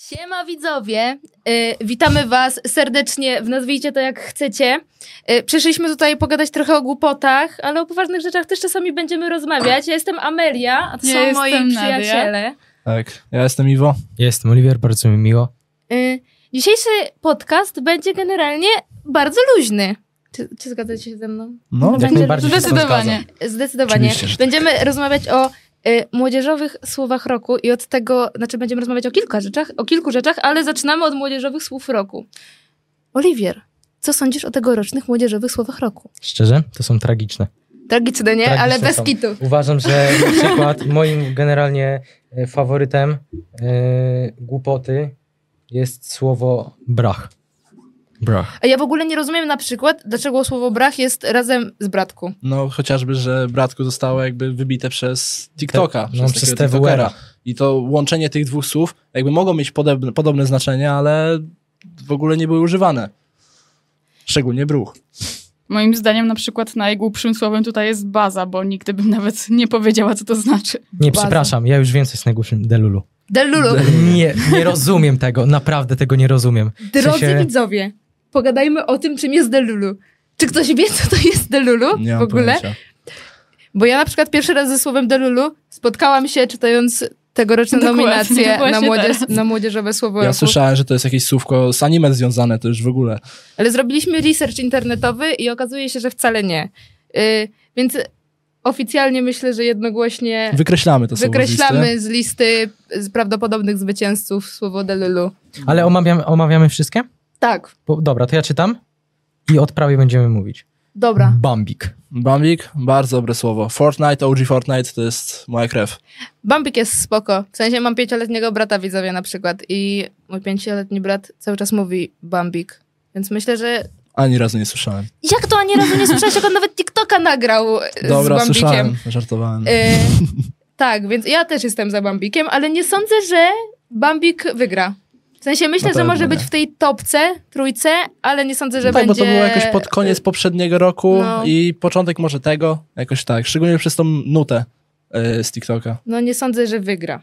Siema widzowie, y, witamy was serdecznie, w nazwijcie to jak chcecie. Y, przyszliśmy tutaj pogadać trochę o głupotach, ale o poważnych rzeczach też czasami będziemy rozmawiać. Ja jestem Amelia, a to Ja są moi jestem Nadia. przyjaciele. Tak, ja jestem Iwo. Jestem Oliwier, bardzo mi miło. Y, dzisiejszy podcast będzie generalnie bardzo luźny. Czy, czy zgadzacie się ze mną? No, Jak Jak najbardziej się z tym Zdecydowanie. Zdecydowanie. Oczywiście, że tak. Będziemy rozmawiać o y, młodzieżowych słowach roku i od tego, znaczy będziemy rozmawiać o kilka rzeczach, o kilku rzeczach, ale zaczynamy od młodzieżowych słów roku. Oliwier, co sądzisz o tegorocznych młodzieżowych słowach roku? Szczerze, to są tragiczne. Tragiczne, nie? Tragiczne ale bez są. kitu. Uważam, że na przykład moim generalnie e, faworytem e, głupoty jest słowo brach. Brach. A ja w ogóle nie rozumiem na przykład, dlaczego słowo brach jest razem z bratku. no chociażby, że bratku zostało jakby wybite przez TikToka, no, przez, przez takiego TikTokera. TWR-a. I to łączenie tych dwóch słów jakby mogą mieć podobne, podobne znaczenie, ale w ogóle nie były używane. Szczególnie bruch. Moim zdaniem na przykład najgłupszym słowem tutaj jest baza, bo nigdy bym nawet nie powiedziała, co to znaczy. Nie, Baza. przepraszam, ja już wiem, co jest najgorszym. Delulu. Delulu, Nie, nie rozumiem tego, naprawdę tego nie rozumiem. drodzy sensie- widzowie, pogadajmy o tym, czym jest delulu. Czy ktoś wie, co to jest delulu Nie w mam ogóle? pojęcia. Bo ja na przykład pierwszy raz ze słowem Delulu spotkałam się czytając tegoroczną Dokładnie, nominację na, właśnie tak. młodzież, teraz. na młodzieżowe słowo Ja roku. słyszałem, że to jest jakieś słówko z anime związane, to już w ogóle. Ale zrobiliśmy research internetowy i okazuje się, że wcale nie. Y, więc oficjalnie myślę, że jednogłośnie Wykreślamy to słowo z listy. wykreślamy z listy z prawdopodobnych zwycięzców słowo Delulu. Ale omawiamy, omawiamy wszystkie? Tak, Bo, dobra, to ja czytam i od prawie będziemy mówić. dobra. Bambik. Bambik, bardzo dobre słowo. Fortnite, OG Fortnite to jest moja krew. Bambik jest spoko. W sensie mam pięcioletniego brata widzowie na przykład i mój pięcioletni brat cały czas mówi Bambik. Więc myślę, że Ani razu nie słyszałem. Jak to ani razu nie słyszałeś, jak on nawet TikToka nagrał e, Dobra, z Bambikiem? słyszałem, żartowałem. E, tak, więc ja też jestem za Bambikiem, ale nie sądzę, że Bambik wygra. W sensie myślę, Na że pewno może nie. być w tej topce, trójce, ale nie sądzę, że tak, będzie... y, bo to było jakoś pod koniec poprzedniego roku no. i początek może tego, jakoś tak. Szczególnie przez tą nutę y, z TikToka. No nie sądzę, że wygra.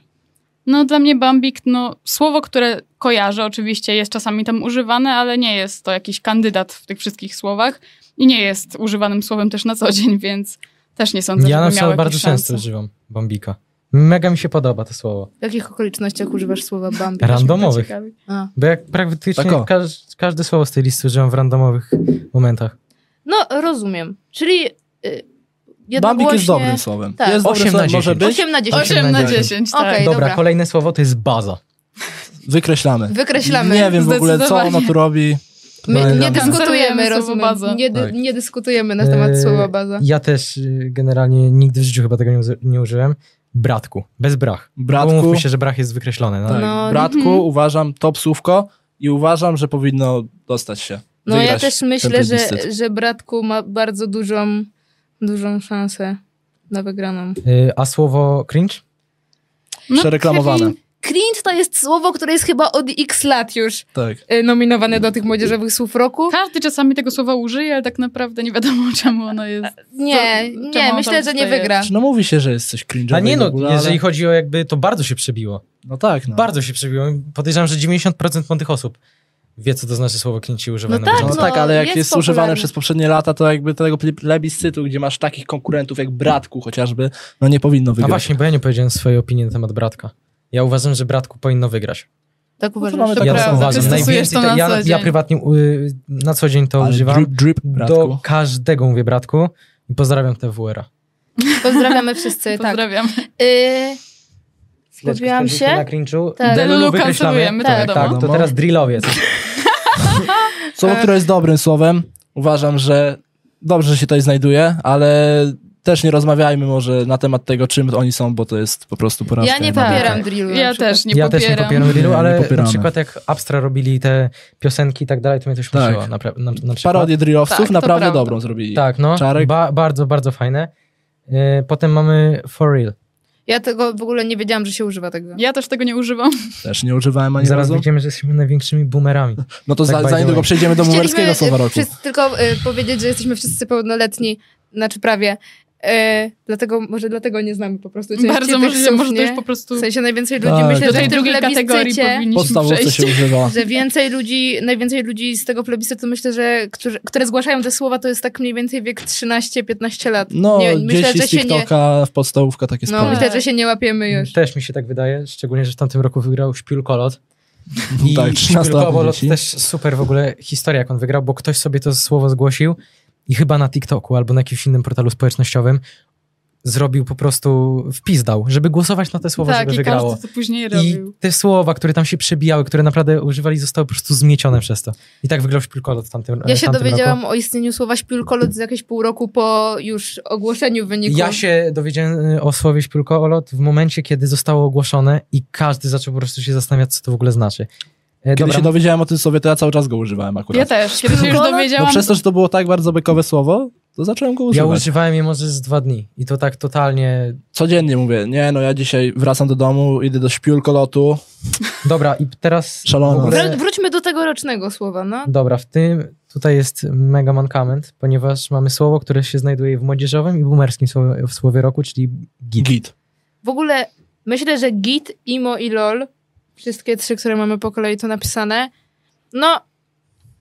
No dla mnie bambik, no słowo, które kojarzę, oczywiście jest czasami tam używane, ale nie jest to jakiś kandydat w tych wszystkich słowach i nie jest używanym słowem też na co dzień, więc też nie sądzę, Ja na żeby miał przykład bardzo jakieś szanse. często używam bambika. Mega mi się podoba to słowo. W jakich okolicznościach używasz słowa Bambik? Randomowych. Ciekawi. A. Bo jak praktycznie Tak o. każ, każde słowo z tej listy używam w randomowych momentach. No, rozumiem. Czyli y, jednogłośnie... Bambik jest dobrym słowem. Tak. Jest dobrym Osiem na słowem, może dziesięć. być. 8 na 10. 8 na na 10, tak. Okej. Ej, dobra, dobra. kolejne słowo to jest baza. Wykreślamy. Wykreślamy. Nie wiem w ogóle, co ono tu robi. My nie Dodajemy. dyskutujemy, Konserwujemy słowo rozumiem. baza. Nie, dy, No Tak. nie dyskutujemy na temat Eee, słowa baza. Ja też y, generalnie nigdy w życiu chyba tego nie, uzy- nie użyłem. Bratku, bez brach. Bratku. Bratku, Umówmy się, że brach jest wykreślony. No. tak. No, Bratku mhm. uważam, top słówko i uważam, że powinno dostać się. No ja Wygrać też ten myślę, że, plebiscyt. że bratku ma bardzo dużą, dużą szansę na wygraną. Y, A słowo cringe? No, Przereklamowane. Cringe to jest słowo, które jest chyba od x lat już Tak. y, nominowane do tych młodzieżowych słów roku. Każdy czasami tego słowa użyje, ale tak naprawdę nie wiadomo czemu ono jest. Nie, co- nie, czemu on myślę, tam że nie wstaje? wygra. No mówi się, że jest coś cringe'owego A nie w no, ogóle, jeżeli ale... chodzi o jakby, to bardzo się przebiło. No tak, no. Bardzo się przebiło. Podejrzewam, że 90% młodych osób wie, co to znaczy słowo cringe i używane. No tak, No, będzie. no, tak, ale jak jest jest, używane popularny. przez poprzednie lata, to jakby tego ple- plebiscytu, gdzie masz takich konkurentów jak Bratku chociażby, no nie powinno A wygrać. właśnie, bo ja nie powiedziałem swojej opinii na temat bratka. Ja uważam, że bratku powinno wygrać. Tak mamy uważasz. tak ja prawda, to uważam. ty stosujesz Najwięcej to na te- ja, co ja dzień. prywatnie y, na co dzień to Ale używam. Drip, drip, Bratku. Do każdego mówię bratku i pozdrawiam TWR-a. Pozdrawiamy wszyscy, tak. Pozdrawiam. Y, Zgubiłam Na się. cringe'u. Tak. Delulu wykreślamy. kancelujemy, to Tak, Tak, wiadomo. No. to teraz drillowiec. Słowo, które jest dobrym słowem, uważam, że dobrze że się tutaj znajduje, ale też nie rozmawiajmy może na temat tego, czym oni są, bo to jest po prostu porażka. Ja nie Naprawdę. popieram drillu. na Ja przykład. też nie Ja też nie popieram. popieram drillu, Nie, nie ale na popieramy. przykład jak Abstra robili te piosenki i tak dalej, to mnie to śmieszyło. Tak. Na, pra- na, na przykład. Parodię drillowców Tak, to naprawdę prawda. dobrą zrobili. Tak, no. Czarek. Ba- bardzo, bardzo fajne. Y, Potem mamy For Real. Ja tego w ogóle nie wiedziałam, że się używa tego. Ja też tego nie używam. Też nie używałem ani Zaraz razu. widzimy, że jesteśmy największymi boomerami. No to tak by za, the za niedługo way. przejdziemy do bumerskiego Chcieliśmy, słowa y, roku. wszyscy tylko y, powiedzieć, że jesteśmy wszyscy pełnoletni, znaczy prawie. Y, dlatego, może dlatego nie znamy po prostu części Bardzo tych możliwe, słów, może to nie? już po prostu W sensie najwięcej ludzi, Tak. do myślę, że tej w tym drugiej kategorii plebiscycie, powinniśmy Podstawowo przejść. się używa. że więcej ludzi, najwięcej ludzi z tego plebiscytu myślę, że, którzy, które zgłaszają te słowa, to jest tak mniej więcej wiek 13-15 lat. No, nie, dzieci myślę, że z się nie, TikToka E, w podstawówka takie no, sprawy. myślę, że się nie łapiemy już. Też mi się tak wydaje, szczególnie, że w tamtym roku wygrał Śpiulkolot. tak, 13 lat Śpiulkolot dzieci. też super w ogóle historia, jak on wygrał, bo ktoś sobie to słowo zgłosił i chyba na TikToku albo na jakimś innym portalu społecznościowym zrobił po prostu, wpis dał, żeby głosować na te słowo, tak, żeby i wygrało. każdy to później I robił. te słowa, które tam się przebijały, które naprawdę używali, zostały po prostu zmiecione przez to. I tak wyglądał szpilkolot w tamtym Ja w się tamtym dowiedziałam Roku. o istnieniu słowa śpiulkolot z jakieś pół roku po już ogłoszeniu wyniku. Ja się dowiedziałem y, o słowie szpilkolot w momencie, kiedy zostało ogłoszone i każdy zaczął po prostu się zastanawiać, co to w ogóle znaczy. E, Kiedy dobra, się dowiedziałem o tym słowie, to ja cały czas go używałem Ja akurat. też. Kiedy się już Śpiewkola? Bo dowiedziałam, przez to, że to było tak bardzo bekowe słowo, to zacząłem go ja używać. używałem je może z dwa dni i to tak totalnie... Codziennie mówię, nie no ja dzisiaj wracam do domu, idę do śpiulkolotu. Dobra, i teraz... Szalona. w ogóle- Wró- wróćmy do tegorocznego słowa, no. Dobra, w tym tutaj jest mega mankament, ponieważ mamy słowo, które się znajduje w młodzieżowym i boomerskim słowie, w słowie roku, czyli git. Git. W ogóle myślę, że git, imo i lol, wszystkie trzy, które mamy po kolei tu napisane, no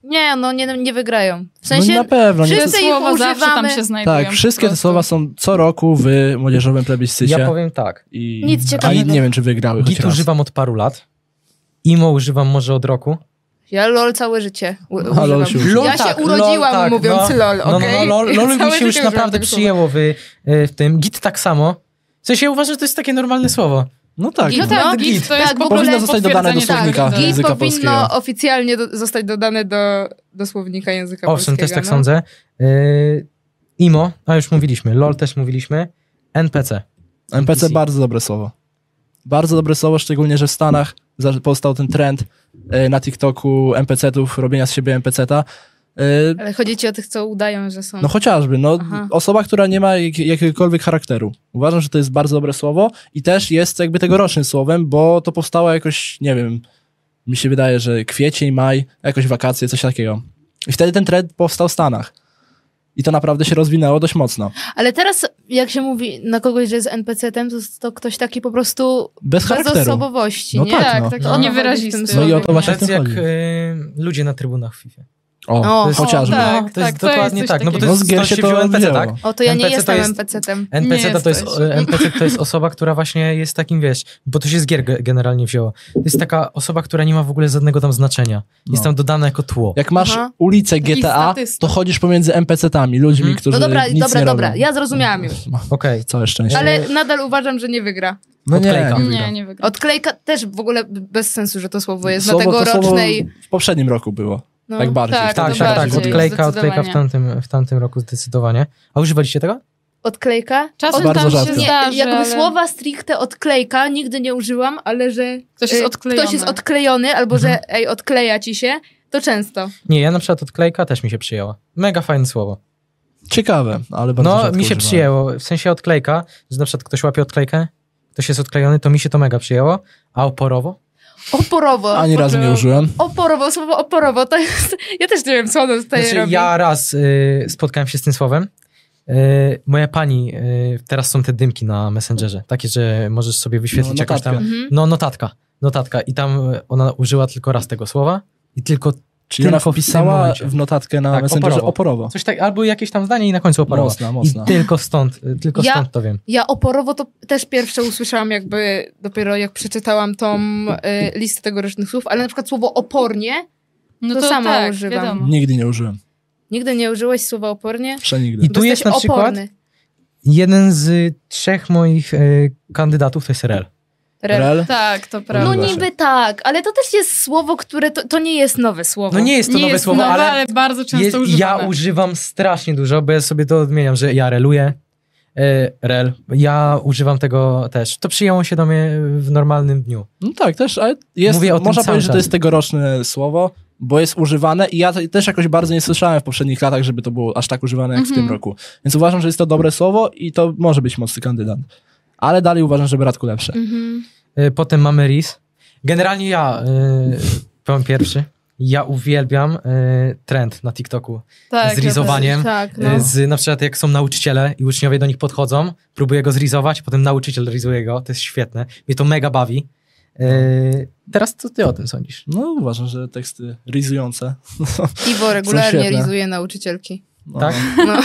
nie, no nie, nie wygrają. W sensie, no na pewno. Nie, wszyscy- te ich słowa zawsze tam używamy. się znajdują. tak, wszystkie po te prostu. słowa są co roku w młodzieżowym plebiscycie. Ja powiem tak, I... Nic A i ciekawego. nie wiem, czy wygrały Git choć raz. używam od paru lat. Imo używam może od roku. ja lol całe życie u- A, lol się używam. używa. Ja Lol tak, się urodziłam lol tak, mówiąc no. lol, No, okej? no, no, lol, lol mi Całe się już życie używam naprawdę tego słowa. przyjęło w, y, w tym. Git tak samo. W sensie ja uważam, że to jest takie normalne słowo. No tak. Git, no. no. Tak, git to Tak, jest po powinno prostu zostać dodane do potwierdzenie Tak, słownika tego, że- git języka powinno polskiego. oficjalnie do, zostać dodane do, do słownika języka polskiego. Owszem, też tak no. sądzę. Y, Imo, a już mówiliśmy. LOL też mówiliśmy. NPC. NPC NPC. bardzo dobre słowo. Bardzo dobre słowo, szczególnie, że w Stanach za- powstał ten trend e, na TikToku NPC-ów, robienia z siebie NPC-ta. E, Ale chodzi ci o tych, co udają, że są. No chociażby, no Aha. osoba, która nie ma jak, jakiegokolwiek charakteru. Uważam, że to jest bardzo dobre słowo i też jest jakby tegorocznym słowem, bo to powstało jakoś, nie wiem, mi się wydaje, że kwiecień, maj, jakoś wakacje, coś takiego. I wtedy ten trend powstał w Stanach. I to naprawdę się rozwinęło dość mocno. Ale teraz, jak się mówi na kogoś, że jest NPC-tem, to, to ktoś taki po prostu Bez bardzo charakteru. osobowości, No nie? tak, no. tak No. o to chodzi w tym Niewyrazisty. No i o słowie. to właśnie w To tym jest jak chodzi. y, ludzie na trybunach w FIFA. O, O, chociażby. o, tak. No, to jest to jest dokładnie coś tak. No bo to takiego. jest No z gier to się się wziął to NPC, wzięło. tak? O, to ja nie NPC to jestem jest- NPC-tem. NPC to, to jest jesteś. o- NPC to jest osoba, która właśnie jest takim, wiesz, bo to się z gier ge- generalnie wzięło. To jest taka osoba, która nie ma w ogóle żadnego tam znaczenia. No. Jest tam dodane jako tło. Jak masz Aha. ulicę Taki GTA, statysta. to chodzisz pomiędzy NPC-tami, ludźmi, Mhm. którzy No dobra, nic dobra, nie dobra, robią. ja zrozumiałam już. Okej. Całe szczęście. Ale Mm, nadal uważam, że nie wygra. No nie, Odklejka. Nie, nie wygra. Odklejka też w ogóle bez sensu, że to słowo jest Słowo- na to słowo tegorocznej... w poprzednim roku było. No. tak bardziej. tak, w tym Tak, to tak, tak. bardziej, Odklejka, odklejka w zdecydowanie. tamtym, w tamtym roku zdecydowanie. A używaliście tego? Odklejka? Czasem Bardzo tam rzadko. się Nie, zdarzy, Jakby ale słowa stricte odklejka nigdy nie użyłam, ale że ktoś jest y, odklejony. ktoś jest odklejony albo Mhm. że ej, odkleja ci się, to często. Nie, ja na przykład odklejka też mi się przyjęła. Mega fajne słowo. Ciekawe, ale bardzo No, mi się rzadko używałem. przyjęło. W sensie odklejka, że na przykład ktoś łapie odklejkę, ktoś jest odklejony, to mi się to mega przyjęło. A oporowo? Oporowo. Ani razu nie Poczułem- użyłem. Oporowo, słowo oporowo, to jest... Ja też nie wiem, co ono tutaj Znaczy, robi. ja raz y, spotkałem się z tym słowem. Y, moja pani, y, teraz są te dymki na Messengerze, takie, że możesz sobie wyświetlić No, jakąś tam... notatka. Mhm. No, notatka. Notatka. I tam y, ona użyła tylko raz tego słowa i tylko Czyli ona Tylko w tym wpisała momencie. w notatkę na Tak, Messengerze oporowo. oporowo. coś tak, albo jakieś tam zdanie i na końcu oporowo. Mocna, mocna. I tylko stąd, y, tylko Ja- stąd to wiem. Ja oporowo to też pierwsze usłyszałam jakby dopiero jak przeczytałam tą y, listę tegorocznych słów, ale na przykład słowo opornie, No To to, samo tak, używam. wiadomo. Nigdy nie użyłem. nigdy nie użyłeś słowa opornie, Przenigdy. I- tu Jesteś jest na przykład- oporny. Jeden z y, trzech moich y, kandydatów to jest Rel. Re- Rel? Tak, to No prawda. Proszę. niby tak, ale to też jest słowo, które to, to nie jest nowe słowo. No nie jest to nie nowe jest słowo, nowe, ale, ale bardzo jest, często ja używane. używam strasznie dużo, bo ja sobie to odmieniam, że ja reluję. y, Rel. Ja używam tego też. To przyjęło się do mnie w normalnym dniu. No tak, też, ale jest, Mówię o tym można cały powiedzieć, że to czas. jest tegoroczne słowo, bo jest używane i ja te- też jakoś bardzo nie słyszałem w poprzednich latach, żeby to było aż tak używane jak w Mhm. tym roku. Więc uważam, że jest to dobre słowo i to może być mocny kandydat. ale dalej uważam, że Bratku lepsze. Mhm. Y, Potem mamy Riz. Generalnie ja, y, powiem pierwszy, ja uwielbiam y, trend na TikToku. Tak, Z rizowaniem, Tak, Y, no. Z, na przykład jak są nauczyciele i uczniowie do nich podchodzą, próbuje go zrizować, potem nauczyciel rizuje go, to jest świetne. Mnie to mega bawi. Y, teraz co ty o tym sądzisz? No uważam, że teksty rizujące. Iwo regularnie regularnie świetne. rizuje nauczycielki. No, Tak? No.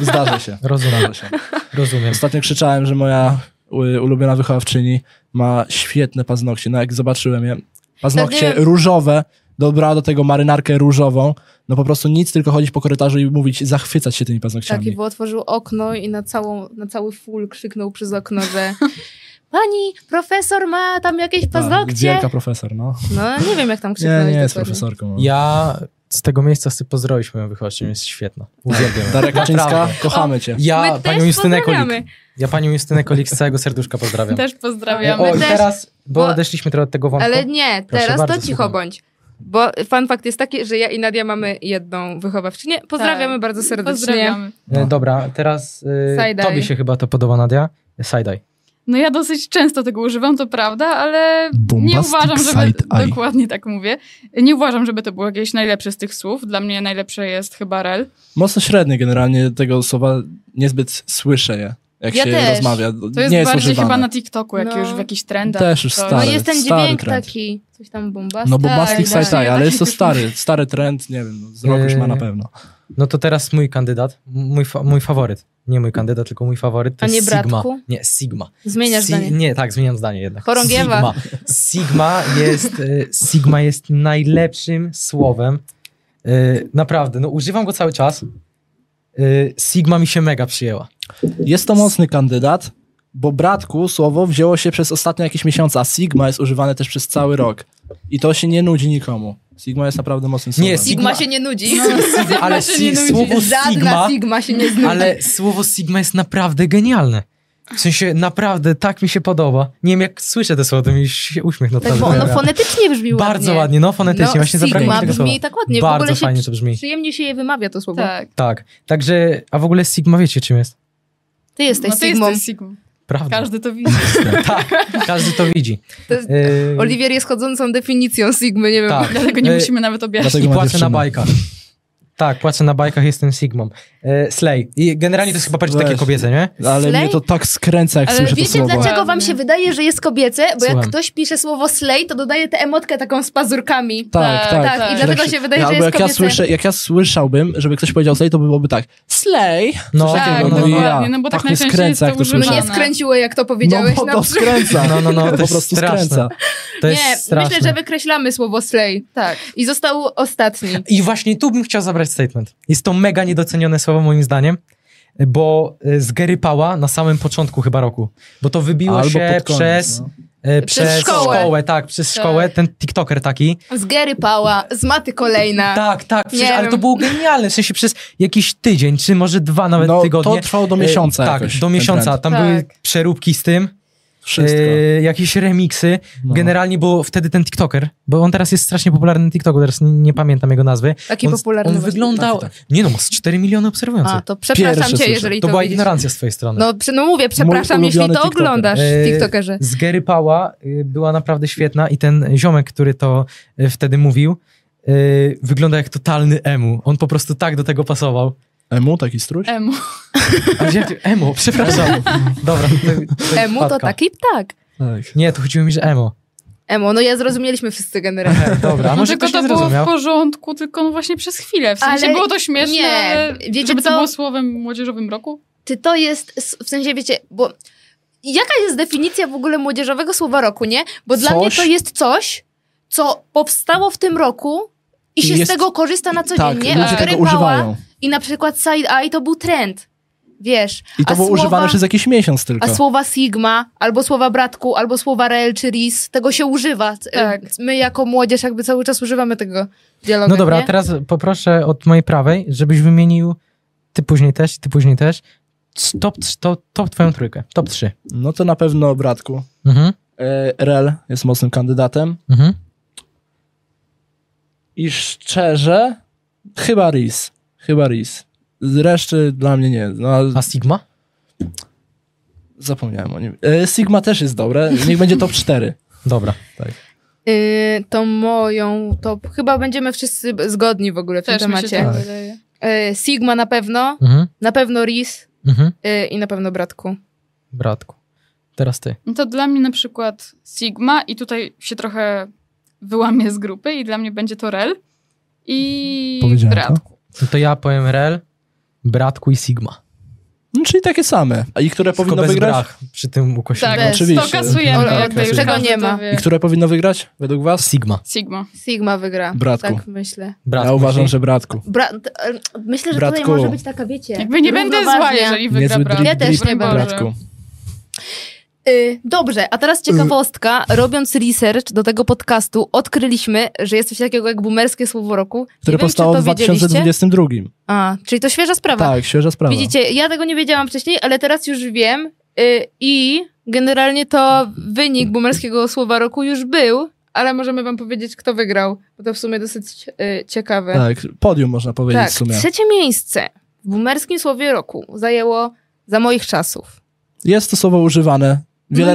Zdarza się. Rozumiem, Zdarza się. rozumiem. Ostatnio krzyczałem, że moja u- ulubiona wychowawczyni ma świetne paznokcie. No jak zobaczyłem je, paznokcie Tak, nie- różowe, dobrała do tego marynarkę różową. No po prostu nic, tylko chodzić po korytarzu i mówić, zachwycać się tymi paznokciami. Tak, Iwo otworzył okno i na, całą, na cały full krzyknął przez okno, że pani profesor ma tam Tak, jakieś paznokcie. Tak, Wielka profesor, no. No nie wiem, jak tam krzyknąłeś. Nie, nie jest dokładnie. profesorką. no. Ja z tego miejsca chcę pozdrowić moją wychowawczynię, jest świetna. Uwielbiam. ją. Darek Kaczyńska, Naprawdę. kochamy cię. My Ja też panią Justynę pozdrawiamy. Kolik. Ja panią Justynę Kolik z całego serduszka pozdrawiam. E, Też Ja pozdrawiamy. my o, i też, teraz, bo bo- odeszliśmy trochę od tego wątku. E, Ale nie, Proszę teraz bardzo, to cicho słucham. bądź. Bo fun fact jest taki, że ja i Nadia mamy jedną wychowawczynię. Pozdrawiamy Tak. bardzo serdecznie. Pozdrawiamy. E, Dobra, teraz y, Side-eye. tobie się chyba to podoba, Nadia. E, Side-eye. No ja dosyć często tego używam, to prawda, ale nie Bombastic uważam, żeby... side-eye. Dokładnie tak mówię. Nie uważam, żeby to było jakieś najlepsze z tych słów. Dla mnie najlepsze jest chyba rel. Mocno średnie generalnie tego słowa niezbyt słyszę je, jak Ja się też. rozmawia. To jest nie jest bardziej używane. chyba na TikToku, jak No. już w jakichś trendach. Też już coś. No Stary, jest ten stary dźwięk trend. taki, coś tam Tak, bombastyczny. No bo Bastic Tak, właśnie, Side Eye, ale jest to taki- stary, stary trend, nie wiem, no, z roku już ma na pewno. No to teraz mój kandydat, mój, fa- mój faworyt. Nie mój kandydat, tylko mój faworyt. To A jest nie Sigma. bratku? Nie, Sigma. Zmieniasz Si- zdanie. Nie, tak, zmieniam zdanie jednak. Chorągiewa. Sigma. Sigma jest, y, Sigma jest najlepszym słowem. Y, Naprawdę, no używam go cały czas. Y, Sigma mi się mega przyjęła. Jest to mocny kandydat, bo bratku słowo wzięło się przez ostatnie jakieś miesiące, a Sigma jest używane też przez cały rok. I to się nie nudzi nikomu. Sigma jest naprawdę mocnym słowem. Nie, Sigma Sigma. się nie nudzi. Sigma, No. ale się nie si- nudzi. słowo Żadna Sigma, Sigma się nie znudzi. ale słowo Sigma jest naprawdę genialne. W sensie naprawdę tak mi się podoba. Nie wiem, jak słyszę te słowa, to mi się uśmiech Tak, naprawdę. bo ono pojawia. fonetycznie brzmi ładnie. Bardzo ładnie, no fonetycznie, właśnie no, zabrakło mi Sigma tego słowa. brzmi tak ładnie. w Bardzo ogóle się fajnie to brzmi. Przyjemnie się je wymawia to słowo. Tak. Tak, także, a w ogóle Sigma wiecie czym jest? Ty jesteś No ty Sigmą. jesteś Sigmą. Prawda. Każdy to widzi. tak, każdy to widzi. To jest... Yy, Oliwier jest chodzącą definicją Sigmy, nie wiem. Tak. Dlatego nie Ej, musimy nawet objaśnić. dlatego- I ma płacę dziewczynę. na bajkach. Tak, płacę na bajkach, jestem Sigmą. E, slay. I generalnie to jest chyba bardziej takie Weź. kobiece, nie? Ale Slay? mnie to tak skręca, jak Ale słyszę to Wiecie, słowo. dlaczego wam Ładnie. się wydaje, że jest kobiece? Bo jak Słucham. ktoś pisze słowo slay, to dodaje tę emotkę taką z pazurkami. Tak, tak. Tak, i dlatego Tak się wydaje, że Albo jest jak ja, kobiece. słyszę, jak ja słyszałbym, żeby ktoś powiedział slay, to byłoby tak, slay, No, Coś tak, takiego, no i dokładnie, ja. no bo tak mnie najczęściej skręca, jest jak to No to nie używane. skręciło, jak to no powiedziałeś bo na to przykład. skręca. No, no, no, po to jest prostu straszne. skręca. to jest Nie, straszne. myślę, że wykreślamy słowo slay. Tak. I został ostatni. I właśnie tu bym chciał zabrać statement. Jest to mega niedocenione słowo moim zdaniem, bo e, zgerypała na samym początku chyba roku. Bo to wybiło Albo się pod koniec, przez, no. e, Przez przez szkołę. szkołę. Tak, przez szkołę. Ten tiktoker taki. Z Gary Pała, z maty kolejna. Tak, tak, przecież, Nie ale to wiem. było genialne. W sensie przez jakiś tydzień, czy może dwa nawet No, tygodnie. to trwało do E, miesiąca Tak, jakoś, do ten miesiąca. trend. Tam Tak. były przeróbki z tym. Wszystko. e, jakieś remiksy. No. Generalnie, bo wtedy ten TikToker, bo on teraz jest strasznie popularny na TikToku, teraz nie, nie pamiętam jego nazwy. Taki on, popularny On właśnie. wyglądał. Tak, Nie no, ma z 4 miliony obserwujących. A, to przepraszam Pierwsze cię, słyszę. jeżeli to to, była widzisz. ignorancja z twojej strony. No, prze- no mówię, przepraszam, Mój jeśli to ulubiony TikToker. oglądasz, E, TikTokerze. Z Gary Pała y, była naprawdę świetna i ten ziomek, który to y, wtedy mówił, y, wygląda jak totalny emu. On po prostu tak do tego pasował. Emu, taki E, struś? Emu. A wziąłem- emu, przepraszam. Dobra. to- to Emu to wpadka. taki ptak. Tak. Nie, to chodziło mi, że emo. E, Emo, no ja zrozumieliśmy wszyscy generalnie. Dobra, a No, może tylko ktoś to nie było w zrozumiał. porządku, tylko no właśnie przez chwilę. W sensie Ale było to śmieszne, nie. ale Wiecie żeby co? to było słowem młodzieżowym roku? Czy to jest, s- w sensie wiecie, bo jaka jest definicja w ogóle młodzieżowego słowa roku, nie? Bo dla Coś- mnie to jest coś, co powstało w tym roku i I się z jest- tego korzysta na co tak, dzień, nie? ludzie A tego Gary Pała używają. I na przykład side eye to był trend, wiesz. I to a było słowa, używane przez jakiś miesiąc tylko. A słowa sigma, albo słowa bratku, albo słowa rel czy ris, tego się używa. C- e, Tak. My jako młodzież jakby cały czas używamy tego dialogu, No dobra, nie? a teraz poproszę od mojej prawej, żebyś wymienił ty później też, ty później też. Top, top, top twoją trójkę. Top 3. No to na pewno bratku. Mhm, E, Rel jest mocnym kandydatem. mhm. I szczerze, chyba Riz. Chyba Riz. Z reszty dla mnie nie. No, A Sigma? Zapomniałem o nim. E, Sigma też jest dobre. Niech będzie top 4. Dobra. Tak. Yy, tą moją, to chyba będziemy wszyscy b- zgodni w ogóle w Też tym mi się temacie. tak Tak. wydaje. Yy, Sigma na pewno, Mhm. na pewno Riz Mhm. yy, i na pewno Bratku. Bratku. Teraz ty. No to dla mnie na przykład Sigma i tutaj się trochę wyłamie z grupy i dla mnie będzie to Rel i Powiedziałem to. Bratku. No to ja powiem Rel, Bratku i Sigma. No, czyli takie same. A i które Tylko powinno bez wygrać? brach przy tym ukosieniu. Tak, Bez, oczywiście. to kasujemy. Ola, jakby oczywiście. już Tego każdy nie to ma. wie. I które powinno wygrać według was? Sigma. Sigma. Sigma wygra. Bratku. Tak myślę. Bratku ja uważam, i- że bratku. Bra- d- e, myślę, że Bratku. tutaj może być taka, wiecie, Jakby nie będę zła, równoważnia. jeżeli wygra Niezły Bratku. Ja też Broń nie będę. Boże. Bratku. Y, dobrze, a teraz ciekawostka. Robiąc research do tego podcastu, odkryliśmy, że jest coś takiego jak boomerskie słowo roku. nie Które wiem, czy powstało to w wiedzieliście. 2022. A, czyli to świeża sprawa. Tak, świeża sprawa. Widzicie, ja tego nie wiedziałam wcześniej, ale teraz już wiem y, i generalnie to wynik boomerskiego słowa roku już był, ale możemy wam powiedzieć, kto wygrał, bo to w sumie dosyć y, ciekawe. Tak, podium można powiedzieć Tak, w sumie. trzecie miejsce w boomerskim słowie roku zajęło za moich czasów. Jest to słowo używane. Wiele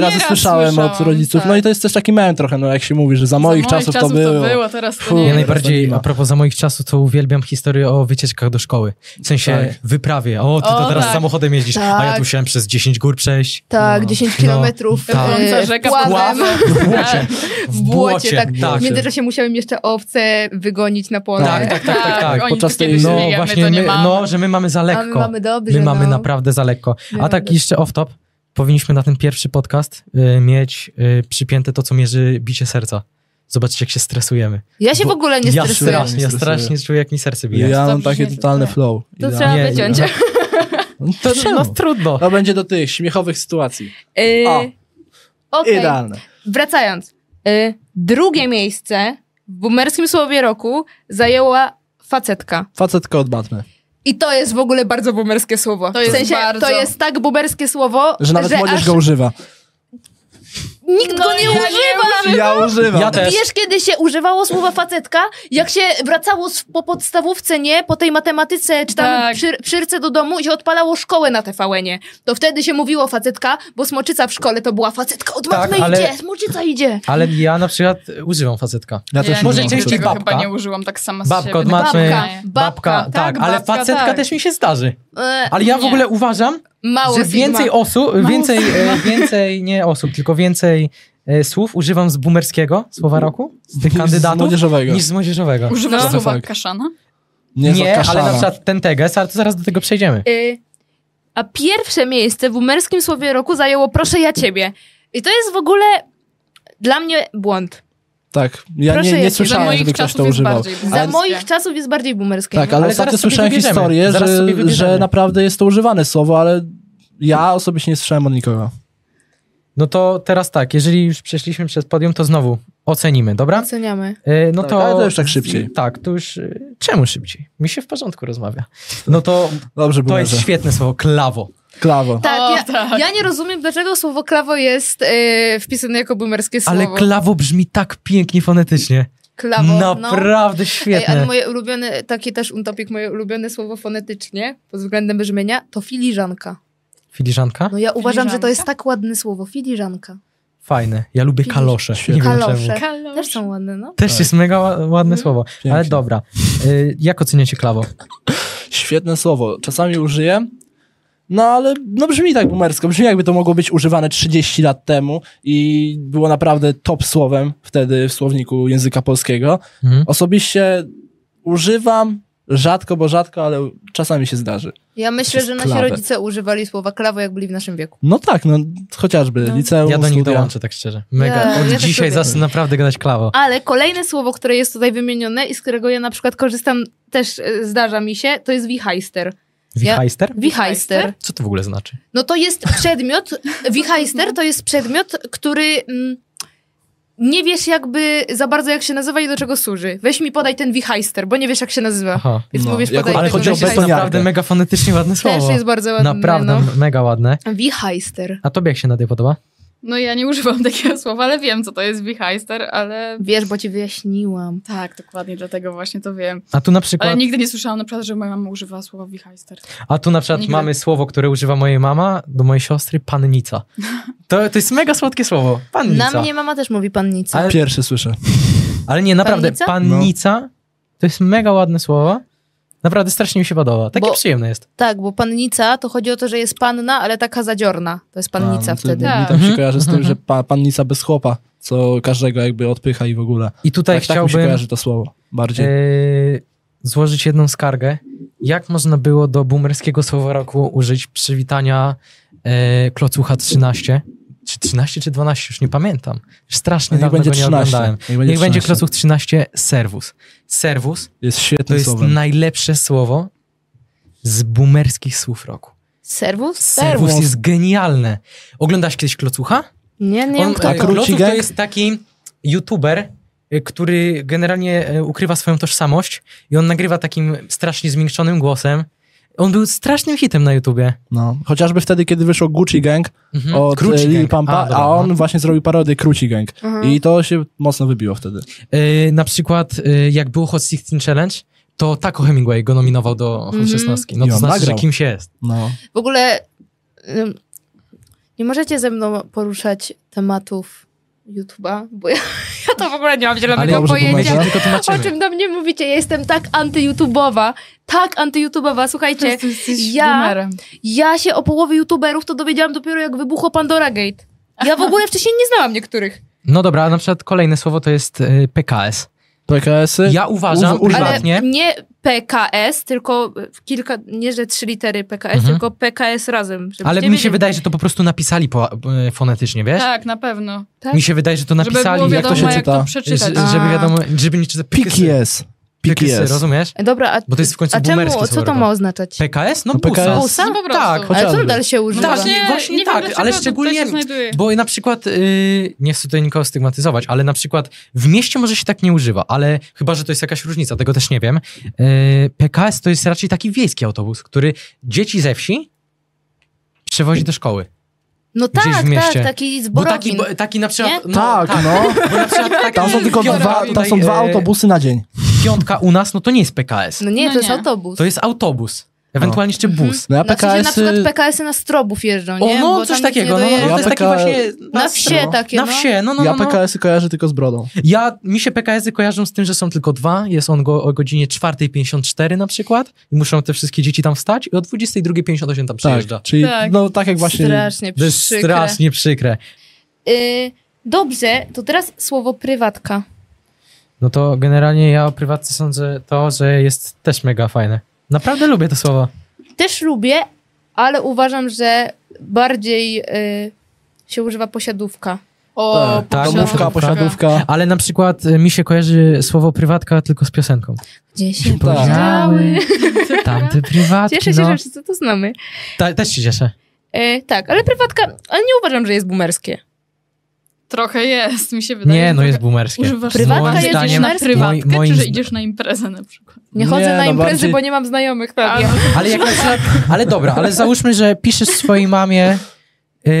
No, razy nieraz słyszałem, od słyszałam, rodziców. tak. No i to jest też taki mem trochę, no jak się mówi, że za moich, czasów, to było. teraz to Fu. nie. Ja Teraz najbardziej, Sigma. a propos za moich czasów, to uwielbiam historię o wycieczkach do szkoły. W sensie Tak. wyprawie. O, ty to O, teraz tak. samochodem jeździsz, a ja Tak. tu musiałem przez 10 gór przejść. Tak, No. 10 No, kilometrów tak. y, Wrząca rzeka płazem. pław. W błocie. W błocie, tak. tak. W międzyczasie musiałem jeszcze owce wygonić na pole. Tak, tak, tak, tak, tak. Oni Podczas podczas tej- tej No śmiejemy, właśnie, to nie my, mamy. no, że my mamy za lekko. A my mamy dobrze, My mamy no. naprawdę za lekko. My A tak mamy- jeszcze off-top, powinniśmy na ten pierwszy podcast y, mieć y, przypięte to, co mierzy bicie serca. Zobaczcie, jak się stresujemy. Ja się w Bo ogóle nie ja stresuję. strasznie, ja Stresuję. strasznie czuję, jak mi serce bije. Ja mam Dobrze, taki że- totalny tak. flow. To Idealnie. trzeba Nie, wyciąć. nie. No To, no, czemu? trudno. To będzie do tych śmiechowych sytuacji. Y, O. Okej, Idealne. wracając. Y, drugie miejsce w boomerskim słowie roku zajęła facetka. Facetko od Batman. I to jest w ogóle bardzo boomerskie słowo. To jest w sensie, bardzo. to jest tak boomerskie słowo, Że nawet młodzież aż go używa. nikt go nie ja No używa. Ja używam. Ja też. Wiesz, kiedy się używało słowa facetka? Jak się wracało z, po podstawówce, nie? Po tej matematyce, czy tam Tak. przy, przyrce do domu i się odpalało szkołę na TVN-ie. To wtedy się mówiło facetka, bo smoczyca w szkole to była facetka. Od Tak, matmy ale- idzie, smoczyca idzie. Ale ja na przykład użyłam facetka. Ja Ja też nigdy Może używam częściej facetki. tego babka. chyba nie użyłam tak sama z Babka siebie. od mamy. Babka, Babka, babka, tak, tak, ale babka, facetka tak. też mi się zdarzy. E, Ale ja w Nie. ogóle uważam, mało że więcej Sigma. osób, więcej, e, więcej, nie osób, tylko więcej e, słów używam z boomerskiego słowa roku, z tych Niż z kandydatów, młodzieżowego. niż z młodzieżowego. Używasz No. słowa Fakt. kaszana? Nie, Nie, ale na zakaszana. przykład ten teges, ale to zaraz do tego przejdziemy. Y, a pierwsze miejsce w umerskim słowie roku zajęło Proszę ja ciebie. I to jest w ogóle dla mnie błąd. Tak, ja Proszę nie, nie jest. Za słyszałem, moich żeby ktoś czasów to jest używał. bardziej Za Ale- moich czasów jest bardziej boomerskie. Tak, ale no Ale ostatnio zaraz sobie słyszałem wybierzemy. historię, Zaraz że, sobie wybierzemy. że naprawdę jest to używane słowo, ale ja osobiście nie słyszałem od nikogo. No to teraz tak, jeżeli już przeszliśmy przez podium, to znowu ocenimy, dobra? Oceniamy. E, No Tak, to, ale to już tak szybciej. Tak, to już... e, Czemu szybciej? Mi się w porządku rozmawia. No to Dobrze, to było, jest że świetne słowo, klawo. klawo. Tak, O, ja, tak. ja nie rozumiem, dlaczego słowo klawo jest y, wpisane jako boomerskie słowo. Ale klawo brzmi tak pięknie fonetycznie. klawo, no. Naprawdę Ej, świetne. ale moje ulubione, takie też untopik, moje ulubione słowo fonetycznie pod względem brzmienia to filiżanka. Filiżanka? No ja uważam, że to Filiżanka? jest tak ładne słowo, filiżanka. Fajne. Ja lubię Filiż- kalosze. Świetne. Nie wiem czemu. Kalosze. Mhm. Kalosze. Też są ładne, no. Tak. Też Tak. jest mega ła- ładne słowo. Pięknie. Ale dobra. Y, jak oceniacie klawo? Świetne słowo. Czasami użyję, no ale no brzmi tak boomersko. Brzmi jakby to mogło być używane 30 lat temu i było naprawdę top słowem wtedy w słowniku języka polskiego. Mhm. Osobiście używam rzadko, bo rzadko, ale czasami się zdarzy. Ja myślę, jest że nasi klawe. rodzice używali słowa klawo, jak byli w naszym wieku. No tak, no chociażby No. liceum, Ja do nich studia. dołączę, tak szczerze. Mega. Ja- Od ja też dzisiaj lubię. zas naprawdę gadać klawo. Ale kolejne słowo, które jest tutaj wymienione i z którego ja na przykład korzystam, też e, zdarza mi się, to jest wichajster. ja- Wichajster? Wichajster. Co to w ogóle znaczy? No to jest przedmiot, wichajster to jest przedmiot, który mm, nie wiesz jakby za bardzo jak się nazywa i do czego służy. Weź mi podaj ten wichajster, bo nie wiesz jak się nazywa. Aha. Więc No, mówisz jako- podaj Ale tego chodzi o Wichajster. wichajstera. bez naprawdę mega fonetycznie ładne słowo. Też jest bardzo ładny. Naprawdę No. mega ładne. Wichajster. A tobie jak się na tej podoba? No ja nie używam takiego słowa, ale wiem, co to jest wichajster, ale Wiesz, bo ci wyjaśniłam. tak, dokładnie dlatego właśnie to wiem. A tu na przykład, Ale nigdy nie słyszałam na przykład, że moja mama używała słowa wichajster. a tu na przykład nigdy- mamy słowo, które używa mojej mama do mojej siostry, pannica. To, to jest mega słodkie słowo, pannica. Na mnie mama też mówi pannica. Ale- Pierwszy słyszę. Ale nie, naprawdę, Pannica? pannica, to jest mega ładne słowo. Naprawdę strasznie mi się podoba. Takie Bo- przyjemne jest. Tak, bo pannica to chodzi o to, że jest panna, ale taka zadziorna. To jest pannica A, no to wtedy. Tak. Mi tam Mhm. się kojarzy z tym, że pa, pannica bez chłopa, co każdego jakby odpycha i w ogóle. I tutaj tak, tak mi się chciałbym kojarzy to słowo bardziej. No yy, złożyć jedną skargę. Jak można było do boomerskiego słowa roku użyć przywitania yy, klocucha 13? Czy 13 czy 12? Już nie pamiętam. Strasznie niech dawno będzie go nie 13. oglądałem. Niech będzie, Niech będzie 13. klocuch 13, serwus. Serwus Jest to świetnym jest słowem. najlepsze słowo z boomerskich słów roku. Serwus? Serwus jest genialne. Oglądasz kiedyś klocucha? Nie, nie wiem On, kto e, to. Króci Kloców to Gang? jest taki youtuber, e, który generalnie e, ukrywa swoją tożsamość i on nagrywa takim strasznie zmiękczonym głosem. On był strasznym hitem na YouTubie. No. Chociażby wtedy, kiedy wyszło Gucci Gang Mhm. od Kruci Kruci Lil Gang. Pampa, a, dobra, on no. właśnie zrobił parodię Kruci Gang. Aha. I to się mocno wybiło wtedy. E, na przykład e, jak było Hot 16 Challenge, to Taco Hemingway go nominował do Hot Mhm. 16. No I to on znaczy, nagrał. że kimś jest. No. W ogóle ym, nie możecie ze mną poruszać tematów YouTube'a, bo ja, ja to w ogóle nie mam zielonego dobrze, pojęcia. Bumera. Tylko O tłumaczymy. czym do mnie mówicie? Ja jestem tak antyyoutubowa, tak antyyoutubowa. Słuchajcie, jesteś ja- boomerem. ja się o połowie youtuberów to dowiedziałam dopiero jak wybuchło Pandora Gate. Ja w ogóle wcześniej nie znałam niektórych. No dobra, a na przykład kolejne słowo to jest e, PKS. PKS-y? Ja uważam Uż- używam. Ale prywatnie... nie PKS, tylko kilka, nie że trzy litery PKS, Mhm. tylko PKS razem. żebyście Ale mi się wiedzieli. wydaje, że to po prostu napisali po, e, fonetycznie, wiesz? Tak, na pewno. Tak? Mi się wydaje, że to Żeby napisali, było jak to wiadomo, się jak to czyta. przeczytać. Ż- żeby A. wiadomo, żeby nie czytać Piki jest. Piki PKS, jest. rozumiesz? Dobra, a, Bo to jest w końcu a boomerskie tak. czemu, słowo co to roku. ma oznaczać? PKS? No, No, PKS. PKS. Busa? No po prostu. No, Tak, Ale co Chociażby. dalej się używa? Tak, właśnie- właśnie wiem, tak, dlaczego ale tutaj szczególnie- się znajduje. Bo na przykład, yy, nie chcę tutaj nikogo stygmatyzować, ale na przykład w mieście może się tak nie używa, ale chyba, że to jest jakaś różnica, tego też nie wiem. Yy, PKS to jest raczej taki wiejski autobus, który dzieci ze wsi przewozi do szkoły. No Gdzieś tak, w mieście. tak, taki Bo zborowin. taki, bo, taki na przykład... Nie? No, tak, no. Bo na przykład taki Tam są tylko piątka dwa, tam są tutaj, dwa e, autobusy na dzień. Piątka u nas, no to nie jest PKS. No nie, No to jest nie. autobus. To jest autobus. Ewentualnie jeszcze bus. No ja Znaczy, że na PKS-y... przykład PKS-y na Strobów jeżdżą, nie? O, no, Bo coś tam nikt nie takiego. No, no, dojeżdża. to jest taki Ja właśnie... Na wsie no. takie, Na no. wsie, no, no, ja no. no. PKS-y kojarzę tylko z brodą. Tak, Ja, mi się PKS-y kojarzą z tym, że są tylko dwa. Jest on go, o godzinie 4.54 na przykład i muszą te wszystkie dzieci tam wstać i o 22.58 tam przyjeżdża. Tak, czyli Tak. no tak jak właśnie... Strasznie To jest przykre. strasznie przykre. Y, dobrze, to teraz słowo prywatka. No to generalnie ja o prywatce sądzę to, że jest też mega fajne. Naprawdę lubię to słowo. Też lubię, ale uważam, że bardziej y, się używa posiadówka. O, tak, posiadówka. domówka, posiadówka. Ale na przykład y, mi się kojarzy słowo prywatka tylko z piosenką. Gdzie się Podziały, posiadówka. tamte prywatki, Cieszę się, no. że wszyscy to znamy. Ta, też się cieszę. E, tak, ale prywatka, ale nie uważam, że jest boomerskie. Trochę jest, mi się wydaje. Nie, że no trochę- jest boomerskie. Używasz Prywatka słowa, jedziesz że Moim idziesz zdaniem, na męskie? prywatkę, moim- czy że moim- idziesz na imprezę na przykład? Nie Nie, chodzę na no imprezy, bardziej- bo nie mam znajomych. A, Tak. Ale jak na przykład, ale dobra, ale załóżmy, że piszesz swojej mamie, yy,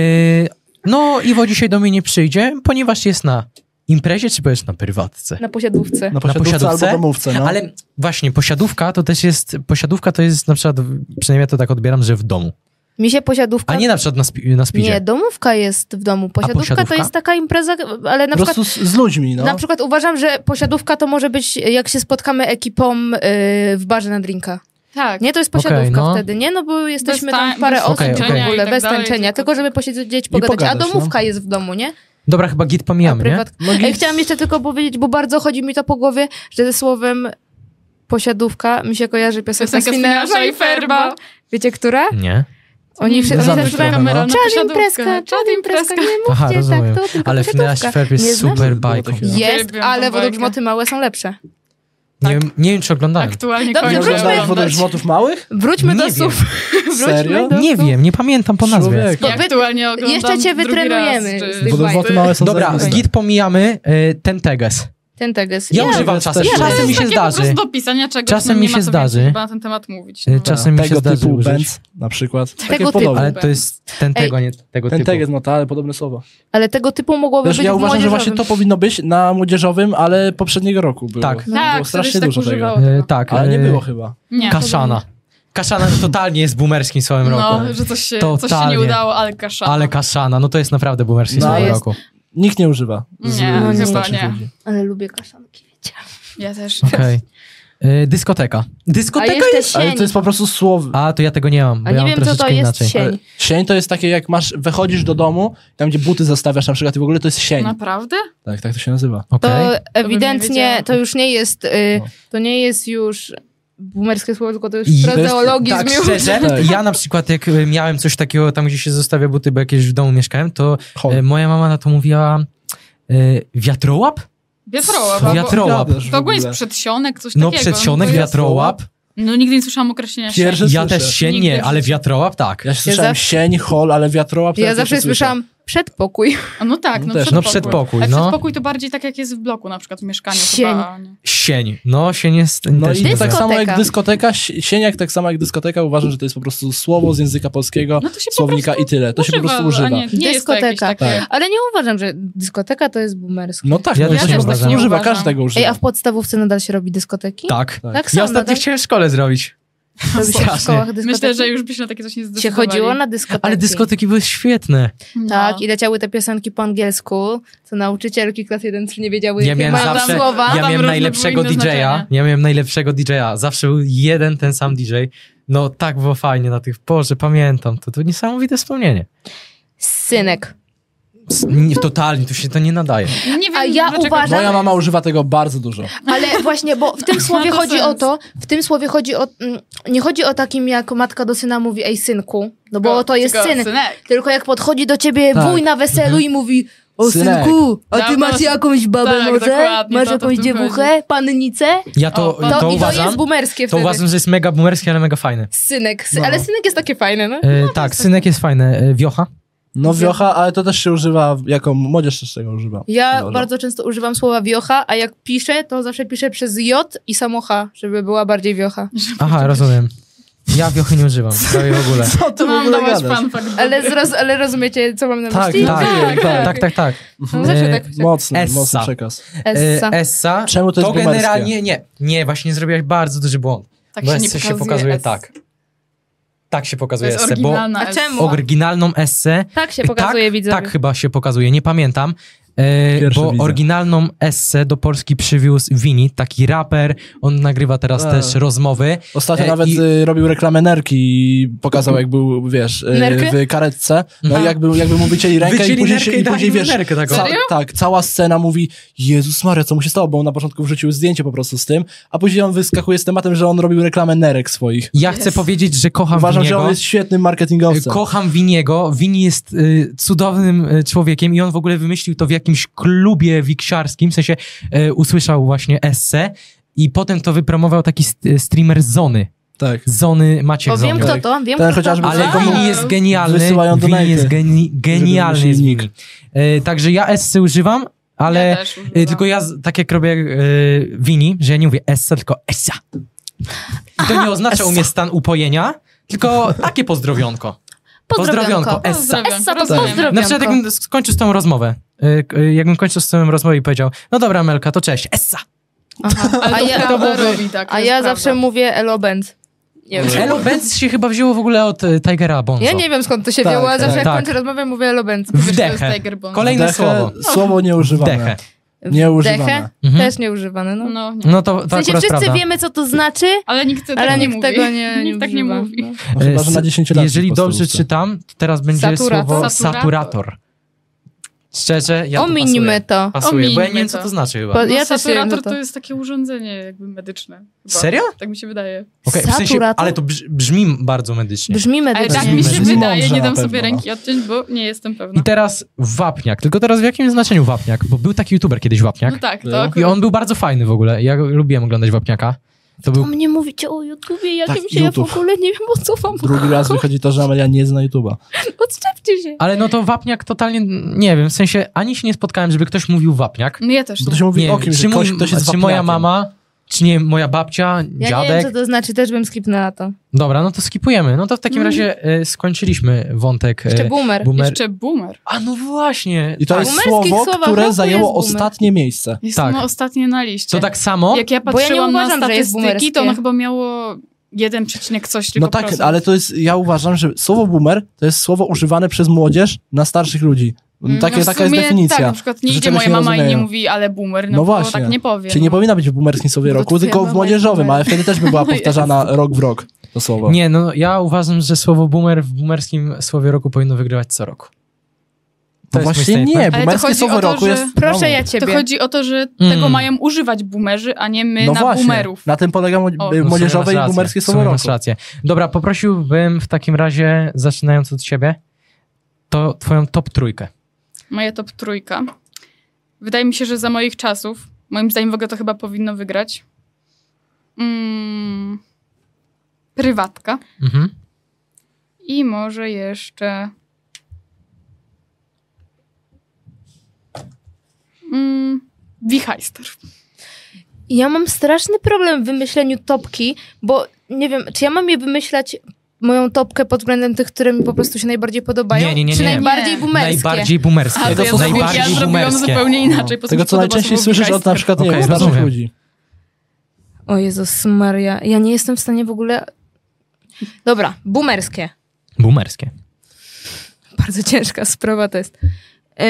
no Iwo dzisiaj do mnie nie przyjdzie, ponieważ jest na imprezie, czy powiesz na prywatce? Na posiadówce. Na posiadówce, posiadówce? albo domówce, no. Ale właśnie, posiadówka to też jest, posiadówka to jest na przykład, przynajmniej ja to tak odbieram, że w domu, Mi się posiadówka... a nie na przykład na, spi- na spidzie. Tak. nie, domówka jest w domu. Posiadówka, to posiadówka? jest taka impreza, ale na po przykład, prostu z, z ludźmi, no. na przykład uważam, że posiadówka to może być, jak się spotkamy ekipą y, w barze na drinka. Tak. Nie, to jest Okej, posiadówka no. wtedy, nie? No bo jesteśmy Bez tam ta- parę bez osób Okej, czy okej. w ogóle, I tak bez dalej, tańczenia, tylko- tylko żeby posiedzieć, pogadać. A pogadać, no. domówka jest w domu, nie? Dobra, chyba git A pomijamy, nie? prywat... Ej, E, Chciałam jeszcze tylko powiedzieć, bo bardzo chodzi mi to po głowie, że ze słowem posiadówka mi się kojarzy piosenka Piosenka Spinarza i Ferba. Wiecie, która? Nie. Oni wszyscy Zamyślona. zaczynają Kamera No, na czad imprezka, czad imprezka, nie mówcie Aha, rozumiem. tak, to tylko Ale Finesse posiadówka. Ferb jest Nie znasz? super Było bajką. takie- Jest, Uwielbiam ale tą według bajkę. Grzmoty małe są lepsze. Nie, Tak. nie wiem, czy oglądałem. Aktualnie Dobrze, kończę wróćmy- Oglądałeś wodę oglądać. żywotów małych? Wróćmy Nie do wiem. słów. Serio? do Nie słów. wiem, nie pamiętam po nazwie. Człowiek. Ja Bo wy- aktualnie oglądam jeszcze cię drugi raz, wytrenujemy czy- z tych Wodę bajek. żywotów małe są Dobra, zajebiste. git pomijamy, y, ten teges. Ten teges. Ja Nie, używam też- czasem. też- czasem mi się Takie po zdarzy. prostu dopisania czegoś, Czasem no mi nie się ma co zdarzy. więcej chyba na ten temat mówić. E, No. Czasem mi się Tego zdarzy typu użyć. Benz na przykład. Takie Tego podobne. typu. Ale to jest ten Ej. tego, nie tego Ten typu. teges, no to, ale podobne słowo. Ale tego typu mogłoby Też być ja w uważam, że młodzieżowym. właśnie to powinno być na młodzieżowym, ale poprzedniego roku było. Tak. No, Tak, było strasznie tak dużo tego. używało E, tego. tak. Ale nie e, było chyba. Nie. Kaszana. Kaszana totalnie jest boomerskim słowem roku. No, że coś się, coś się Totalnie. nie udało, ale kaszana. Ale kaszana, no to jest naprawdę boomerskim No, słowem jest. roku. Nikt nie używa. Nie, chyba nie. starszych ludzi. Ale lubię kaszanki, wiecie. Ja też. Okej. E, Dyskoteka. A Dyskoteka jeszcze jest... sień. Ale to jest po prostu słowo. A, to ja tego nie mam, bo A ja nie mam wiem, co to troszeczkę jest inaczej. sień. Ale Sień to jest takie, jak masz, wychodzisz do domu, tam gdzie buty zostawiasz na przykład i w ogóle to jest sień. No. Naprawdę? Tak, tak to się nazywa. Okej. To ewidentnie, wiedziała. to już nie jest, y, No. to nie jest już boomerskie słowo, tylko to już I- frazeologizm Tak, już. szczerze, Tak. ja na przykład jak e, miałem coś takiego tam, gdzie się zostawia buty, bo jakieś w domu mieszkałem, to Chol. e, moja mama na to mówiła e, wiatrołap? Wiatrołap. Co? albo- Wiatro- Wiatrołap. Gadasz w To ogólnie ogóle. jest przedsionek, coś No takiego. przedsionek, No, to jest- wiatrołap. No nigdy nie słyszałam określenia sień. Pierwszy- Ja słyszę. też się Nigdy nie, w ale życiu. wiatrołap tak. Ja słyszałem zawsze- sień, hol, ale wiatrołap... to Ja ja zawsze pierwszy słyszę. słyszałam przedpokój. A No tak, no, Też, przedpokój. no przedpokój, Ale no. przedpokój to bardziej tak jak jest w bloku na przykład w mieszkaniu Sień. chyba. a nie. Sień. No sień jest... No też i nie tak Dyskoteka. samo jak dyskoteka, si- sieniak tak samo jak dyskoteka, uważam, że to jest po prostu słowo z języka polskiego, No to się po słownika i tyle. To się po prostu a używa. Tak. Nie, nie jest to jakieś Dyskoteka. Tak. takie... Ale nie uważam, że dyskoteka to jest boomerskie. No tak, Ja no, też to nie się po prostu uważam. używa, Uważam. każdego używa. Ej, a w podstawówce nadal się robi dyskoteki? Tak. Tak. Tak Ja samo, ostatnio tak? chciałem w szkole zrobić. Robi się w strasznie. szkołach dyskoteki? Myślę, że już byś na takie coś nie się zdecydowali. chodziło na dyskoteki. Ale dyskoteki były świetne. No. Tak, i leciały te piosenki po angielsku, co nauczycielki klas 1-3 nie wiedziały, Ja jakie miałem mają tam zawsze, słowa. ja Tam miałem różne najlepszego były inne DJ-a. znaczenia. Ja miałem najlepszego DJ-a. Zawsze był jeden ten sam DJ. No tak było fajnie na tych porze, pamiętam. To, to niesamowite wspomnienie. Synek. S- nie, Totalnie, tu się to nie nadaje. Nie wiem, A ja dlaczego- uważam- Moja mama używa tego bardzo dużo. Ale właśnie, bo w tym słowie to chodzi o sens. to, w tym słowie chodzi o, mm, nie chodzi o takim, jak matka do syna mówi, ej synku, no bo to jest Tylko synek. synek. Tylko jak podchodzi do ciebie Tak. wuj na weselu i mówi o Synek. synku, a ty Dawno- masz jakąś babę Tak, może? dokładnie, Masz to- to jakąś w tym dziewuchę? Pannicę? Ja to, O, to- To, to, I to uważam. jest boomerskie To wtedy. uważam, że jest mega boomerskie, ale mega fajne. Synek. Sy- No. Ale synek jest takie fajne, no. E, tak, synek jest fajny. E, wiocha? No wiocha, ale to też się używa, jako młodzież też tego używa. Ja Dobra. bardzo często używam słowa wiocha, a jak piszę, to zawsze piszę przez J i samo H, żeby była bardziej wiocha. Aha, rozumiem. Ja wiochy nie używam, prawie w ogóle. Co ty w Mam ogóle dawać gadasz? fanfakt. Ale, zroz, ale rozumiecie, co mam na Tak, myśli? tak, tak, Tak, tak, tak. No, zawsze E, tak piszę. Mocny, Essa. mocny przekaz. Essa. E, Essa. Czemu to jest boomerskie? generalnie nie. Nie, właśnie zrobiłaś bardzo duży błąd. Tak bo się nie Essa się pokazuje tak. Tak się To pokazuje jest Essę, bo oryginalna A S. czemu? oryginalną Essę Tak się pokazuje tak, widzowie. Tak chyba się pokazuje, nie pamiętam. E, Pierwszy bo widzę. oryginalną essę do Polski przywiózł Wini, taki raper. On nagrywa teraz A. też rozmowy. Ostatnio E, nawet i- y, robił reklamę nerki i pokazał, jak był, wiesz, y, Nerkę? w karetce. No i Aha. jakby, jakby mu wycięli rękę i Wycięli później, nerkę się, i i dali później mu wiesz, nerkę taką. ca- Serio? tak, cała scena mówi, Jezus Maria, co mu się stało, bo on na początku wrzucił zdjęcie po prostu z tym, a później on wyskakuje z tematem, że on robił reklamę nerek swoich. Ja chcę powiedzieć, że kocham Uważam, że Winiego. Y, on jest świetnym marketingowcem. Kocham Winiego. Wini jest y, cudownym y, człowiekiem i on w ogóle wymyślił to w jakimś klubie wiksiarskim, w sensie y, usłyszał właśnie essę i potem to wypromował taki st- streamer Zony. tak. Zony Maciek Bo wiem kto Zony. to, wiem Ten kto chociażby to. Ale Wow. Wini jest genialny. Wysyłają donaty, Wini jest geni- żeby genialny. był Jest silnik. Wini. E, także ja essy używam, ale Ja też używam. e, tylko ja z- tak jak robię e, Wini, że ja nie mówię essa, tylko essa. I to nie oznacza u mnie stan upojenia, tylko takie pozdrowionko. Pozdrowionko. essa. Pozdrawiam. Essa to Pozdrawiam. pozdrow- Na przykład jakbym skończył z tą rozmowę, e, k- e, jakbym kończył z tą rozmowę i powiedział, no dobra Melka, to cześć, essa. Aha. A Ale to ja, prawda robi, tak, to a jest ja prawda. zawsze mówię elobend. Nie wiem. Elo Benz się chyba wzięło w ogóle od e, Tigera Bonzo. Ja nie wiem skąd to się Tak, wzięło, a tak, zawsze jak tak. kończę rozmowę mówię elobend. Wiesz, to Wdechę. jest Tiger Bond. Kolejne Dechę, słowo. Słowo nieużywane. Wdechę. Nie używane. Dechę? Mhm. Też nieużywane, no. No, nie. No to, to W sensie akurat wszyscy prawda. wiemy co to znaczy, Ale nikt, tego ale Tak nie nikt mówi. tego nie, nie Nikt tak nie używa. mówi. No. No, chyba, E, że na s- 10 lat. Jeżeli dobrze czytam, to teraz będzie Saturator. słowo Saturator. saturator. Szczerze, ja Ominimy to to. pasuje. pasuje bo ja nie wiem, Ominimy co to. to znaczy chyba. Bo No, ja też nie wiem, co saturator to. to jest takie urządzenie jakby medyczne. Chyba. Serio? Tak mi się wydaje. Okej, w sensie, Saturator? ale to brz- brzmi bardzo medycznie. Brzmi Ale medycznie. tak mi się Medycyna. wydaje, nie Mądrze dam na sobie pewno, ręki odciąć, bo nie jestem pewna. I teraz wapniak. Tylko teraz w jakim znaczeniu wapniak? Bo był taki youtuber kiedyś wapniak. No tak, to No. akurat. I on był bardzo fajny w ogóle. Ja go- lubiłem oglądać wapniaka. To O był... mnie mówicie o YouTubie jakimś, Tak, ja w YouTube. ogóle nie wiem o co wam Drugi raz wychodzi to, że Amelia nie zna YouTube'a. Odczepcie się. Ale no to wapniak totalnie, nie wiem, w sensie ani się nie spotkałem, żeby ktoś mówił wapniak. No ja też nie. Bo to się mówi nie, o kimś, czy, że ktoś, mój- ktoś jest czy moja wapniakiem. mama, czy nie moja babcia, Ja nie dziadek. wiem, co to znaczy, też bym skipnęła to. Dobra, no to skipujemy. No to w takim Mm. razie e, skończyliśmy wątek Mhm. Jeszcze e, boomer. boomer. Jeszcze boomer. A no właśnie. I to tak. jest Boomerskich słowo, słowach które roku zajęło jest boomer. ostatnie miejsce. Jest Tak. ono ostatnie na liście. To tak samo? Jak ja Bo ja nie patrzyłam uważam, na że jest statystyki, to ono boomerskie. chyba miało 1, coś tylko No tak, procent. ale to jest, ja uważam, że słowo boomer to jest słowo używane przez młodzież na starszych ludzi. Mm, Takie, No w taka jest sumie Tak, definicja. na przykład nie że idzie czegoś moja nie mama i nie rozumieją. mówi, ale boomer, no, No bo właśnie. tak nie powiem. Czyli nie powinna być w boomerskim słowie Bo roku, twoja tylko mama w jest młodzieżowym, boomer. ale wtedy też by była powtarzana rok w rok to słowo. Nie, no ja uważam, że słowo boomer w boomerskim słowie roku powinno wygrywać co roku. to jest mój właśnie statement. nie, to boomerskie chodzi słowo o to, roku że- jest... Proszę no, ja To ciebie. chodzi o to, że Mm. tego mają używać boomerzy, a nie my no na właśnie, boomerów. na tym polega mo- no w No, w sumie masz młodzieżowe i rację, boomerskie w sumie słowo Masz roku. rację. Dobra, poprosiłbym w takim razie, zaczynając od siebie, to twoją top trójkę. Moja top trójka. Wydaje mi się, że za moich czasów, moim zdaniem w ogóle to chyba powinno wygrać. Mm, prywatka. Mhm. I może jeszcze. Mm, Wichajster. Ja mam straszny problem w wymyśleniu topki, bo nie wiem, czy ja mam je wymyślać moją topkę pod względem tych, które mi po prostu się najbardziej podobają? Nie, nie, nie, Czy nie. najbardziej Nie. boomerskie? Najbardziej boomerskie. A, to ja zrobiłam- najbardziej ja zrobiłam boomerskie. zupełnie inaczej. po prostu No. Tego, co mi się podoba najczęściej słowo słyszysz od na wichajster. przykład nie, Okej, wiem, starszych rozumiem. ludzi. O Jezus Maria, ja nie jestem w stanie w ogóle... Dobra, boomerskie. Boomerskie. Bardzo ciężka sprawa to jest. Yy,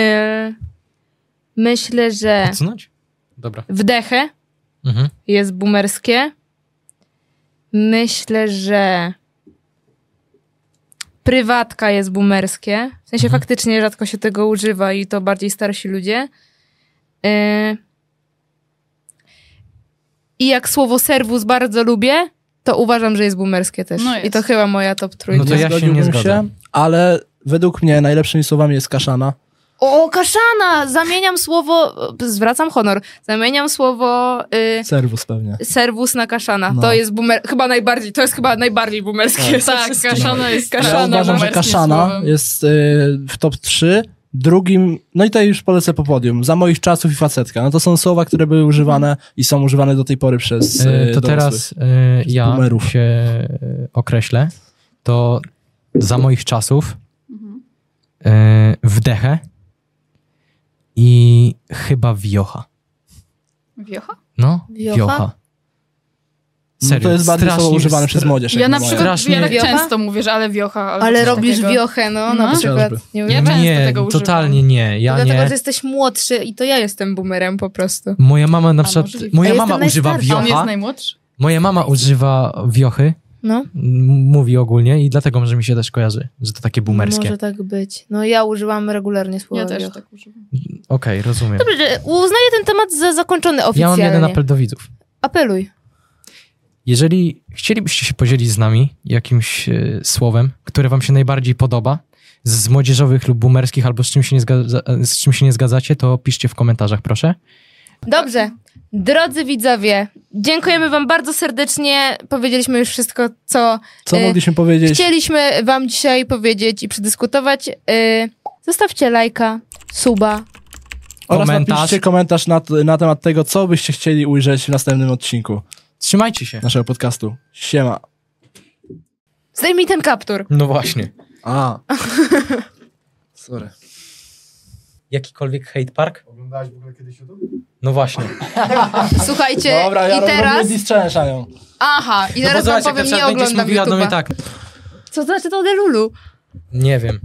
myślę, że Odsunąć? Dobra. wdechę Mhm. jest boomerskie. Myślę, że prywatka jest boomerskie. W sensie Mhm. faktycznie rzadko się tego używa i to bardziej starsi ludzie. Yy. I jak słowo serwus bardzo lubię, to uważam, że jest boomerskie też. No jest. I to chyba moja top trójka. No to ja się zgodziłbym nie zgodzę. Ale według mnie najlepszymi słowami jest kaszana. O, kaszana! Zamieniam słowo, zwracam honor, zamieniam słowo y, Serwus pewnie. serwus na kaszana. No. To jest boomer, chyba najbardziej, to jest chyba najbardziej boomerskie. ze Tak, wszystkich. kaszana jest kaszana. ja uważam, że numerskim Kaszana słowem. jest y, w top 3. Drugim, no i tutaj już polecę po podium, za moich czasów i facetka. No to są słowa, które były używane i są używane do tej pory przez E, y, to dorosłych. teraz e, ja boomerów. się e, określę. To za moich czasów Mhm. e, wdechę i chyba wiocha. Wiocha? No, Wiocha? wiocha. No to jest bardziej słowo strasznie- używane przez stra- młodzież. Ja jak na moja. przykład Strasznie- ja tak Wiocha? często mówię, że ale wiocha. albo Ale coś robisz takiego. wiochę, no, na No. przykład. Chociażby. Nie Ja wiem. często nie, tego używam. totalnie nie. To Ja dlatego, nie. że jesteś młodszy i to ja jestem boomerem po prostu. Moja mama na A, przykład. możliwe. A Moja jestem mama używa najstarsza. A On jest wiocha. najmłodszy? Moja mama używa wiochy. No. m- Mówi ogólnie i dlatego może mi się też kojarzy, że to takie boomerskie. Może tak być. No ja użyłam regularnie słowa Ja też wiocha. tak używam. Okej, rozumiem. Dobrze, że uznaję ten temat za zakończony Ja mam oficjalnie. jeden apel do widzów. Apeluj. Jeżeli chcielibyście się podzielić z nami jakimś e, słowem, które wam się najbardziej podoba, z z młodzieżowych lub boomerskich, albo z czym, się nie zgadza, z czym się nie zgadzacie, to piszcie w komentarzach, proszę. Dobrze. Drodzy widzowie, dziękujemy Wam bardzo serdecznie. Powiedzieliśmy już wszystko, co Co y, mogliśmy powiedzieć? chcieliśmy Wam dzisiaj powiedzieć i przedyskutować. Y, Zostawcie lajka, suba. Oraz Komentarz. napiszcie komentarz na, na temat tego, co byście chcieli ujrzeć w następnym odcinku Trzymajcie się. naszego podcastu. Siema. Zdejmij ten kaptur. No właśnie. A. Sorry. Jakikolwiek hate park? Oglądałaś w ogóle kiedyś YouTube? No właśnie. Słuchajcie, Dobra, ja i teraz... teraz... Aha, No i teraz Wam powiem, nie oglądam mówiła do mnie YouTube'a. tak. Co znaczy to Delulu? Nie wiem.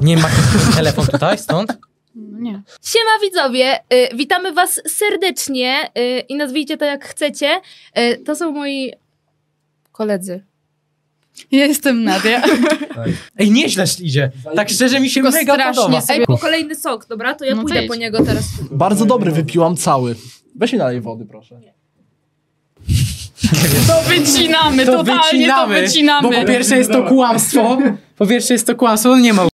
Nie ma telefon tutaj, stąd? No nie. Siema widzowie, y, witamy was serdecznie y, i nazwijcie to jak chcecie. Y, to są moi koledzy. Ja jestem Nadia. Ej, nieźle idzie. Tak szczerze mi się Tylko mega strasznie podoba. Ej, po kolejny sok, dobra? To ja No to pójdę idź. po niego teraz. Bardzo dobry, wypiłam cały. Weź mi nalej wody, proszę. To wycinamy, totalnie to wycinamy. Bo po pierwsze jest to kłamstwo. Po pierwsze jest to kłamstwo, on nie ma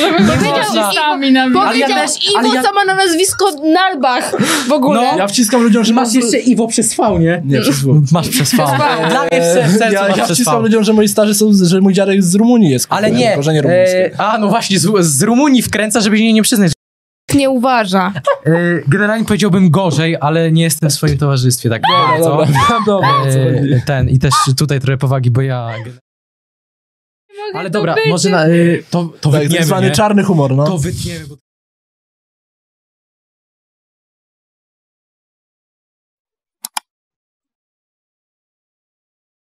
możemy powiedzieć można. sami na Powiedział Ale ja też- ale Iwo, ja- co ma na nazwisko Nalbach w ogóle. No. Ja wciskam ludziom, że Masz mam- jeszcze Iwo przez V, nie? Nie, przez W. Masz przez V. V. Dla mnie w ser- sercu ja, masz ja przez wciskam V. ludziom, że moi starzy są, z- że mój dziadek z Rumunii jest. Ale kurwa, nie. Korzenie E, rumuńskie. a, no właśnie, z, z Rumunii wkręca, żeby jej nie przyznać. Nie uważa. E, generalnie powiedziałbym gorzej, ale nie jestem w swoim towarzystwie tak Dobra, bardzo. dobra, dobra. o co chodzi? E, ten, i też tutaj trochę powagi, bo ja... Ale dobra, może na, e, to, to Tak, tak wytniemy, zwany nie? czarny humor, no. To wytniemy, bo